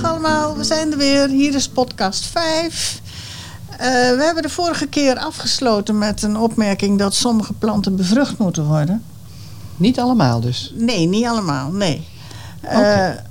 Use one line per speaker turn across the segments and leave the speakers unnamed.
we zijn er weer. Hier is podcast 5. Eh, we hebben de vorige keer afgesloten met een opmerking dat sommige planten bevrucht moeten worden.
Niet allemaal dus.
Nee, niet allemaal, nee. Eh,
Oké.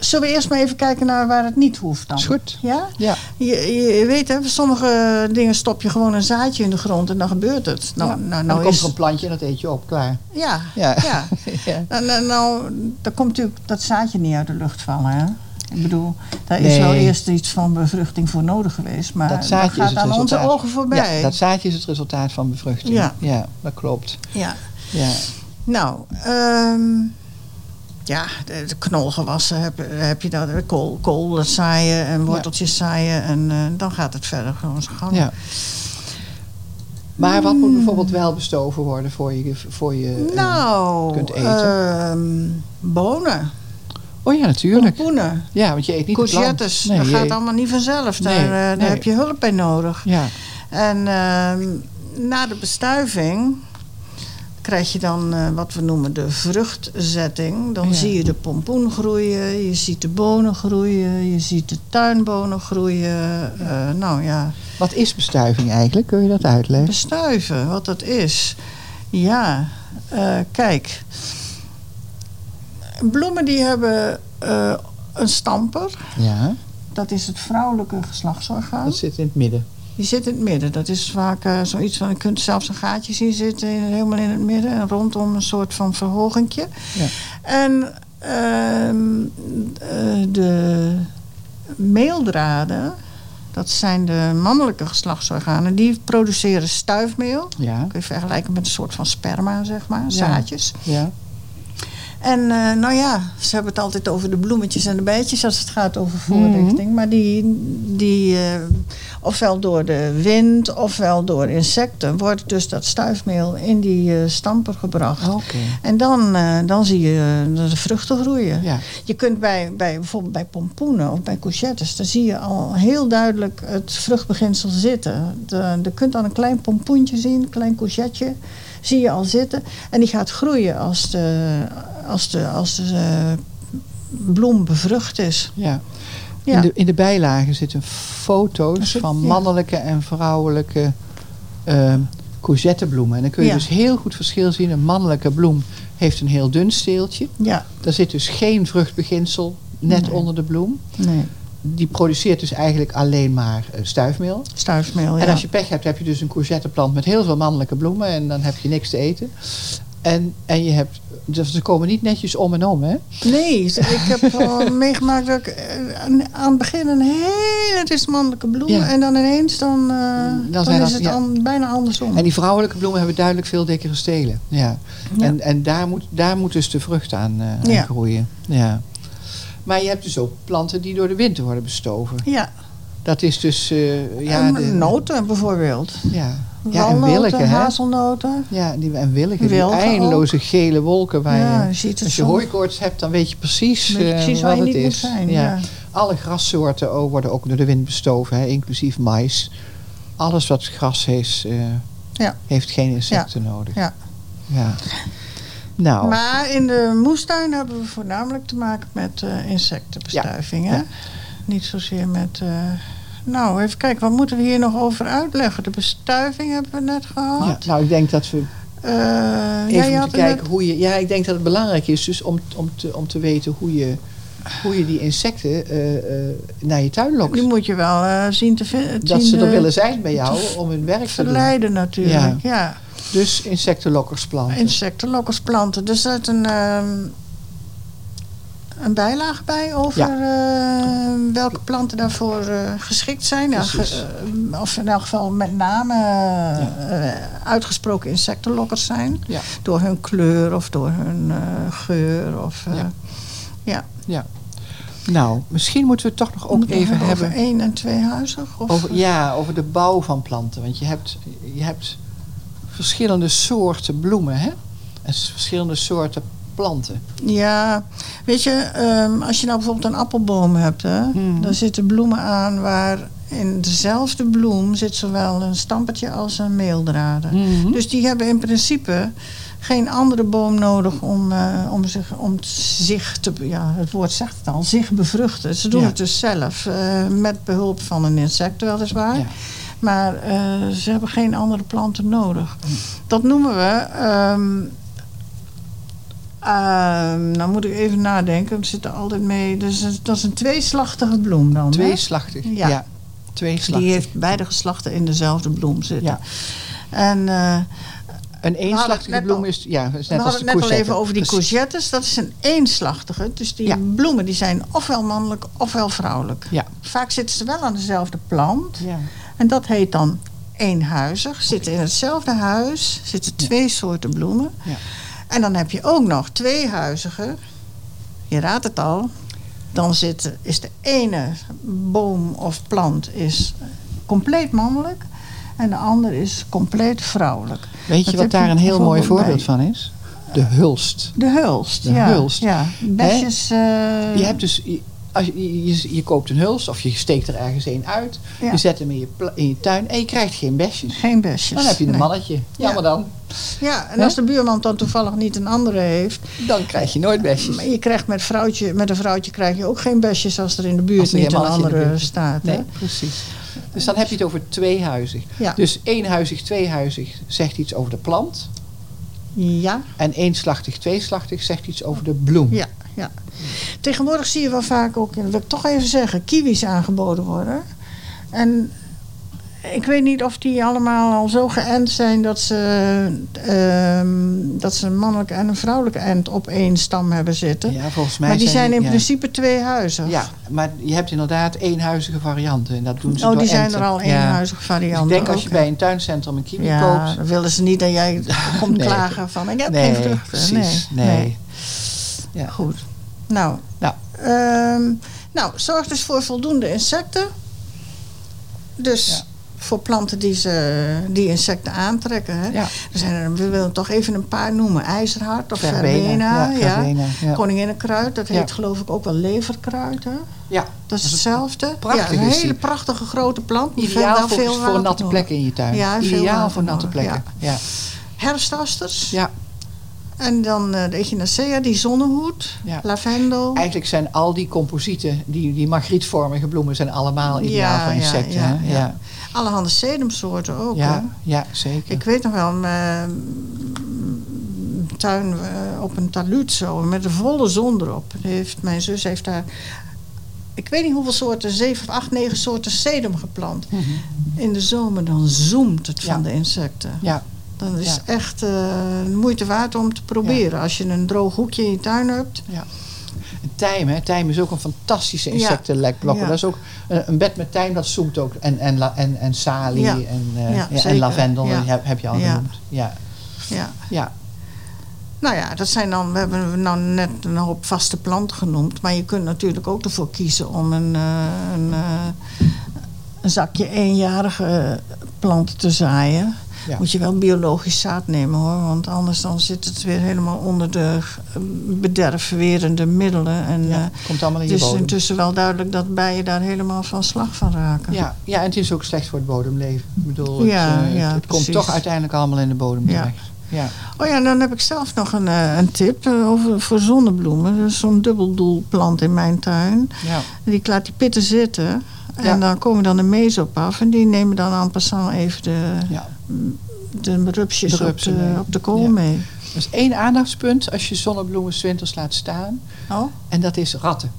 zullen we eerst maar even kijken naar waar het niet hoeft dan?
Is goed.
Ja?
Ja.
Je, je weet hè, voor sommige dingen stop je gewoon een zaadje in de grond en dan gebeurt het. Nou,
Ja.
nou,
dan
nou
komt
is...
er een plantje en dat eet je op, klaar.
Ja,
Ja.
ja.
Ja.
Nou, nou, nou, daar komt natuurlijk dat zaadje niet uit de lucht vallen. Hè? Ik bedoel, daar is
Nee.
wel eerst iets van bevruchting voor nodig geweest. Maar
Dat
dat,
zaadje is
gaat
het
aan onze
resultaat.
ogen voorbij.
Ja, dat zaadje is het resultaat van bevruchting.
Ja.
dat klopt.
Ja.
Ja.
Nou, ehm, ja, de, de knolgewassen heb, heb je dat. eh, Kool, kool zaaien en worteltjes zaaien. En eh, dan gaat het verder gewoon zijn gang.
ja. Maar wat moet bijvoorbeeld wel bestoven worden voor je... Voor je eh,
Hmm. Nou,
kunt eten.
ehm, bonen,
oh ja, natuurlijk.
pompoenen,
Ja, want je eet niet de plant.
courgettes.
Nee,
dat
je
gaat
eet-
allemaal niet vanzelf. Daar,
Nee,
eh, daar
nee.
heb je hulp bij nodig.
Ja,
En ehm, na de bestuiving krijg je dan eh, wat we noemen de vruchtzetting. Dan
Ja.
zie je de pompoen groeien, je ziet de bonen groeien, je ziet de tuinbonen groeien. Eh, nou ja,
wat is bestuiving eigenlijk? Kun je dat uitleggen?
bestuiven, wat dat is. Ja, eh, kijk. Bloemen die hebben eh, een stamper.
Ja,
Dat is het vrouwelijke geslachtsorgaan.
dat zit in het midden.
Die zit in het midden. Dat is vaak eh, zoiets van, je kunt zelfs een gaatje zien zitten, in- helemaal in het midden en rondom een soort van verhogingje.
Ja.
En ehm, eh, de meeldraden, dat zijn de mannelijke geslachtsorganen, die produceren stuifmeel.
Ja,
Kun je vergelijken met een soort van sperma, zeg maar, zaadjes.
ja.
En eh, nou ja, ze hebben het altijd over de bloemetjes en de bijtjes als het gaat over voorlichting. Maar die, die eh, ofwel door de wind ofwel door insecten, wordt dus dat stuifmeel in die eh, stamper gebracht.
Oké.
En dan, eh, dan zie je eh, de vruchten groeien.
Ja.
Je kunt bij, bij, bijvoorbeeld bij pompoenen of bij courgettes, daar zie je al heel duidelijk het vruchtbeginsel zitten. De, je kunt dan een klein pompoentje zien, een klein courgetje, zie je al zitten. En die gaat groeien als de, als de, als de eh, bloem bevrucht is.
Ja.
Ja.
In, de, in de bijlagen zitten foto's
zit-
van
ja.
mannelijke en vrouwelijke ehm courgettebloemen. En dan kun je
Ja.
dus heel goed verschil zien. Een mannelijke bloem heeft een heel dun steeltje.
Ja,
Daar zit dus geen vruchtbeginsel net
Nee.
onder de bloem.
nee,
Die produceert dus eigenlijk alleen maar eh, stuifmeel.
stuifmeel. Oh Ja.
En als je pech hebt, heb je dus een courgetteplant met heel veel mannelijke bloemen. En dan heb je niks te eten. En, en je hebt, dus ze komen niet netjes om en om, hè?
Nee, ik heb al meegemaakt dat ik eh, aan- aan het begin een hele, het is mannelijke bloem.
Ja.
En dan ineens, dan, eh,
Dan
dan,
zijn
is
dat-
het
ja.
an- bijna andersom.
En die vrouwelijke bloemen hebben duidelijk veel dikkere stelen. Ja.
Ja.
En, en daar, moet, daar moet dus de vrucht aan, eh, aan
Ja.
groeien. Ja. Maar je hebt dus ook planten die door de wind worden bestoven.
Ja,
Dat is dus... eh, ja,
en
de,
noten bijvoorbeeld.
Ja, ja en
Walnoten,
willigen. Hè?
hazelnoten.
Ja, die, en willigen.
Wilgen
die
ook.
eindeloze gele wolken waar
ja,
je...
je ziet het
eh, Als je
soms.
hooikoorts hebt, dan weet je precies,
Weet je
eh,
precies waar
wat
je
het
niet
is.
moet zijn, ja.
Alle grassoorten ook, worden ook door de wind bestoven, hè, inclusief mais. Alles wat gras heeft, eh,
Ja.
heeft geen insecten nodig.
Ja.
Ja. Nou,
Maar in de moestuin hebben we voornamelijk te maken met eh, insectenbestuiving.
Ja.
Hè?
Ja.
Niet zozeer met... eh, nou, even kijken, wat moeten we hier nog over uitleggen? De bestuiving hebben we net
ja,
gehad.
nou, ik denk dat we
Eh, Ja.
even
je had
moeten
het net
kijken hoe je... Ja, ik denk dat het belangrijk is dus om, om, te, om te weten hoe je, hoe je die insecten eh, eh, naar je tuin lokt.
Die moet je wel eh, zien eh, te vinden.
Dat ze er willen zijn bij jou om hun werk te doen.
Verleiden natuurlijk, ja.
Dus insectenlokkersplanten.
Insectenlokkers planten. Dus er zit een, ehm, een bijlage bij over eh, welke planten daarvoor eh, geschikt zijn. Ja,
Precies.
ge- eh, of in elk geval met name eh, eh, uitgesproken insectenlokkers zijn.
Ja.
Door hun kleur of door hun eh, geur. Of, eh,
Ja. Nou, misschien moeten we het toch nog ook
moeten we
even
over
hebben
één en tweehuizig? Of, eh,
over, ja, over de bouw van planten. Want je hebt, je hebt verschillende soorten bloemen, hè? En s- verschillende soorten planten.
Ja, weet je, ehm, als je nou bijvoorbeeld een appelboom hebt, hè,
Mhm.
daar zitten bloemen aan waar In dezelfde bloem zit zowel een stampertje als een meeldraden.
Mhm.
Dus die hebben in principe geen andere boom nodig om, eh, om, zich, om t- zich te... Ja, het woord zegt het al, zich bevruchten. Ze doen
Ja.
het dus zelf, eh, met behulp van een insect weliswaar.
Ja.
Maar eh, ze hebben geen andere planten nodig.
Hmm.
Dat noemen we... ehm, ehm, nou moet ik even nadenken, want het zit er altijd mee. Dus het- dat is een tweeslachtige bloem dan. hè?
Tweeslachtig.
Ja.
Ja. Tweeslachtig.
Die eh, heeft beide geslachten in dezelfde bloem zitten.
Ja.
En eh,
Een
hadden het
eenslachtige
net
bloem
al-
is, ja, is
we
net
hadden
als de
het net al
courgette.
even over die
Precies.
courgettes. Dat is een eenslachtige. Dus die
Ja.
bloemen die zijn ofwel mannelijk ofwel vrouwelijk.
Ja.
Vaak zitten ze wel aan dezelfde plant.
Ja.
En dat heet dan eenhuizig. Zitten in hetzelfde huis. Zitten twee soorten bloemen.
Ja.
En dan heb je ook nog tweehuizige. Je raadt het al. Dan zit, is de ene boom of plant is compleet mannelijk. En de ander is compleet vrouwelijk. Dat
Weet je
heb
wat daar
je
een heel mooi
bijvoorbeeld
voorbeeld van is? De hulst.
De hulst.
De
ja.
hulst.
Ja. Besjes. eh,
Je hebt dus, je- als je, je, je koopt een hulst of je steekt er ergens een uit.
Ja.
Je zet hem in je, pla- in je tuin en je krijgt geen besjes.
Geen besjes.
Dan heb je een
nee.
mannetje. Jammer dan.
Ja, en
Hè?
als de buurman dan toevallig niet een andere heeft.
Dan krijg je nooit besjes.
Maar je krijgt met, vrouwtje, met een vrouwtje krijg je ook geen besjes als er in de buurt
Als er
niet een
helemaal als je in de
andere
buurt-
staat. hè?
Nee, precies. Dus dan heb je het over tweehuizig.
Ja.
Dus eenhuizig, tweehuizig zegt iets over de plant.
Ja,
En eenslachtig, tweeslachtig zegt iets over de bloem.
ja, ja. Tegenwoordig zie je wel vaak ook, en dat wil ik toch even zeggen, kiwis aangeboden worden. En ik weet niet of die allemaal al zo geënt zijn dat ze, ehm, dat ze een mannelijke en een vrouwelijke end op één stam hebben zitten.
Ja, volgens mij
maar die zijn in
ja.
principe twee huizen.
Ja, maar je hebt inderdaad eenhuizige varianten. En dat doen ze
Oh,
door
die zijn
enten.
er al
Ja.
eenhuizige
Dus
varianten.
ik denk als je
ook,
bij een tuincentrum een kiwi
ja,
koopt...
dan willen ze niet dat jij komt
Nee.
klagen van ik heb
nee,
geen vruchten.
precies. Nee. Ja.
Goed. Nou.
Nou.
ehm, nou, zorg dus voor voldoende insecten. Dus
Ja.
voor planten die, ze, die insecten aantrekken. Hè.
Ja.
Er zijn er, we willen toch even een paar noemen. IJzerhart of verbena.
Verbena, ja,
ja.
verbena, ja.
Koninginnenkruid, dat
Ja.
heet geloof ik ook wel leverkruid. Hè.
ja.
Dat is hetzelfde.
prachtig
ja, een
is die.
hele prachtige grote plant. maar die heeft
Ideaal
wel
voor,
veel
voor
water
natte
nodig.
plekken in je tuin.
Ja, veel
Ideaal
water
voor natte
nodig,
plekken. Ja. Ja.
Herfstasters. En dan eh, de echinacea, die zonnehoed.
Ja.
Lavendel.
Eigenlijk zijn al die composieten, die, die margrietvormige bloemen... zijn allemaal ideaal voor insecten.
Ja,
hè?
ja.
ja.
Allerhande sedumsoorten ook.
Ja,
hoor.
ja, zeker.
Ik weet nog wel, mijn tuin eh, op een taluut zo, met een volle zon erop. Die Heeft, mijn zus heeft daar, ik weet niet hoeveel soorten, zeven of acht, negen soorten sedum geplant.
Mhm.
In de zomer dan zoemt het van
Ja.
de insecten.
Ja,
Dan is
Ja.
echt eh, de moeite waard om te proberen. Als je een droog hoekje in je tuin hebt.
en tijm, hè. Tijm is ook een fantastische insectenlekblokker.
Ja.
Dat is ook een, een bed met tijm, dat zoemt ook. En, en, la- en, en salie
Ja.
en, eh,
Ja,
ja,
zeker.
en lavendel
Ja.
die heb, heb je al
Ja.
genoemd. Ja.
Ja.
Ja.
Nou ja, dat zijn dan, we hebben nou net een hoop vaste planten genoemd. Maar je kunt natuurlijk ook ervoor kiezen om een, eh, een, eh, een zakje eenjarige eh, planten te zaaien.
Ja.
Moet je wel biologisch zaad nemen hoor. Want anders dan zit het weer helemaal onder de eh, bederfwerende middelen. En,
Ja,
eh,
komt allemaal in
het
je
is
bodem.
intussen wel duidelijk dat bijen daar helemaal van slag van raken.
Ja, ja, en het is ook slecht voor het bodemleven. Ik bedoel, het,
Ja,
eh, het,
ja,
het komt
precies.
toch uiteindelijk allemaal in de bodem
Ja.
terecht. Ja.
Oh ja, en dan heb ik zelf nog een, eh, een tip eh, over, voor zonnebloemen. Er is zo'n dubbeldoelplant in mijn tuin.
Ja.
En Die laat die pitten zitten. En
Ja.
dan komen dan de mees op af. En die nemen dan aan passant even de,
Ja.
de rupsjes
De
op,
rupsen
de,
mee.
op de kool
Ja.
mee.
Dus één aandachtspunt als je zonnebloemen 's winters laat staan.
Oh,
En dat is ratten.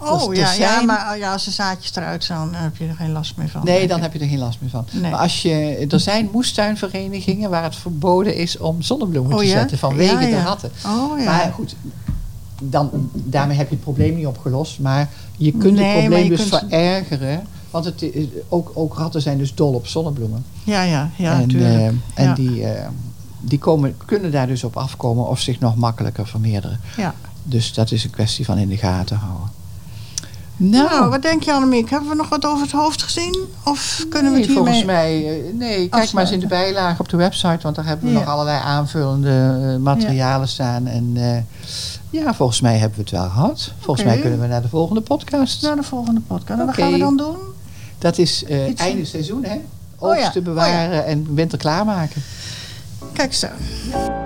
Dus
oh
er
ja, ja,
zijn-
maar oh ja, als de zaadjes eruit zijn, dan heb je er geen last meer van.
Nee, dan heb je er geen last meer van.
Oh, Nee.
Maar als je, er zijn moestuinverenigingen waar het verboden is om zonnebloemen
Oh,
te
ja?
zetten vanwege
Ja, ja.
de ratten.
Oh ja.
Maar goed, dan, daarmee heb je het probleem niet opgelost. Maar je kunt
Nee, maar
het probleem
je
dus
kunt-
verergeren. Want het, is- ook, ook ratten zijn dus dol op zonnebloemen.
ja, ja, ja,
en
tuurlijk.
eh, en
Ja.
die, eh, die komen, kunnen daar dus op afkomen of zich nog makkelijker vermeerderen.
Ja.
Dus dat is een kwestie van in de gaten houden. Nou,
Nou, wat denk je Annemiek? Hebben we nog wat over het hoofd gezien? Of kunnen we
Nee,
het hiermee...
volgens mij, eh, nee, kijk maar eens in de
afsluiten?
bijlage op de website, want daar hebben we
Ja.
nog allerlei aanvullende eh, materialen staan. En eh, ja, volgens mij hebben we het wel gehad. Volgens
Oké. Nou,
mij kunnen we naar de volgende podcast.
Naar de volgende podcast. En wat
Oké.
gaan we dan doen?
Dat is eh,
Iets-
einde seizoen, hè?
Oh ja,
Oogsten
oh ja.
bewaren en winter klaarmaken.
Kijk zo.
Ja.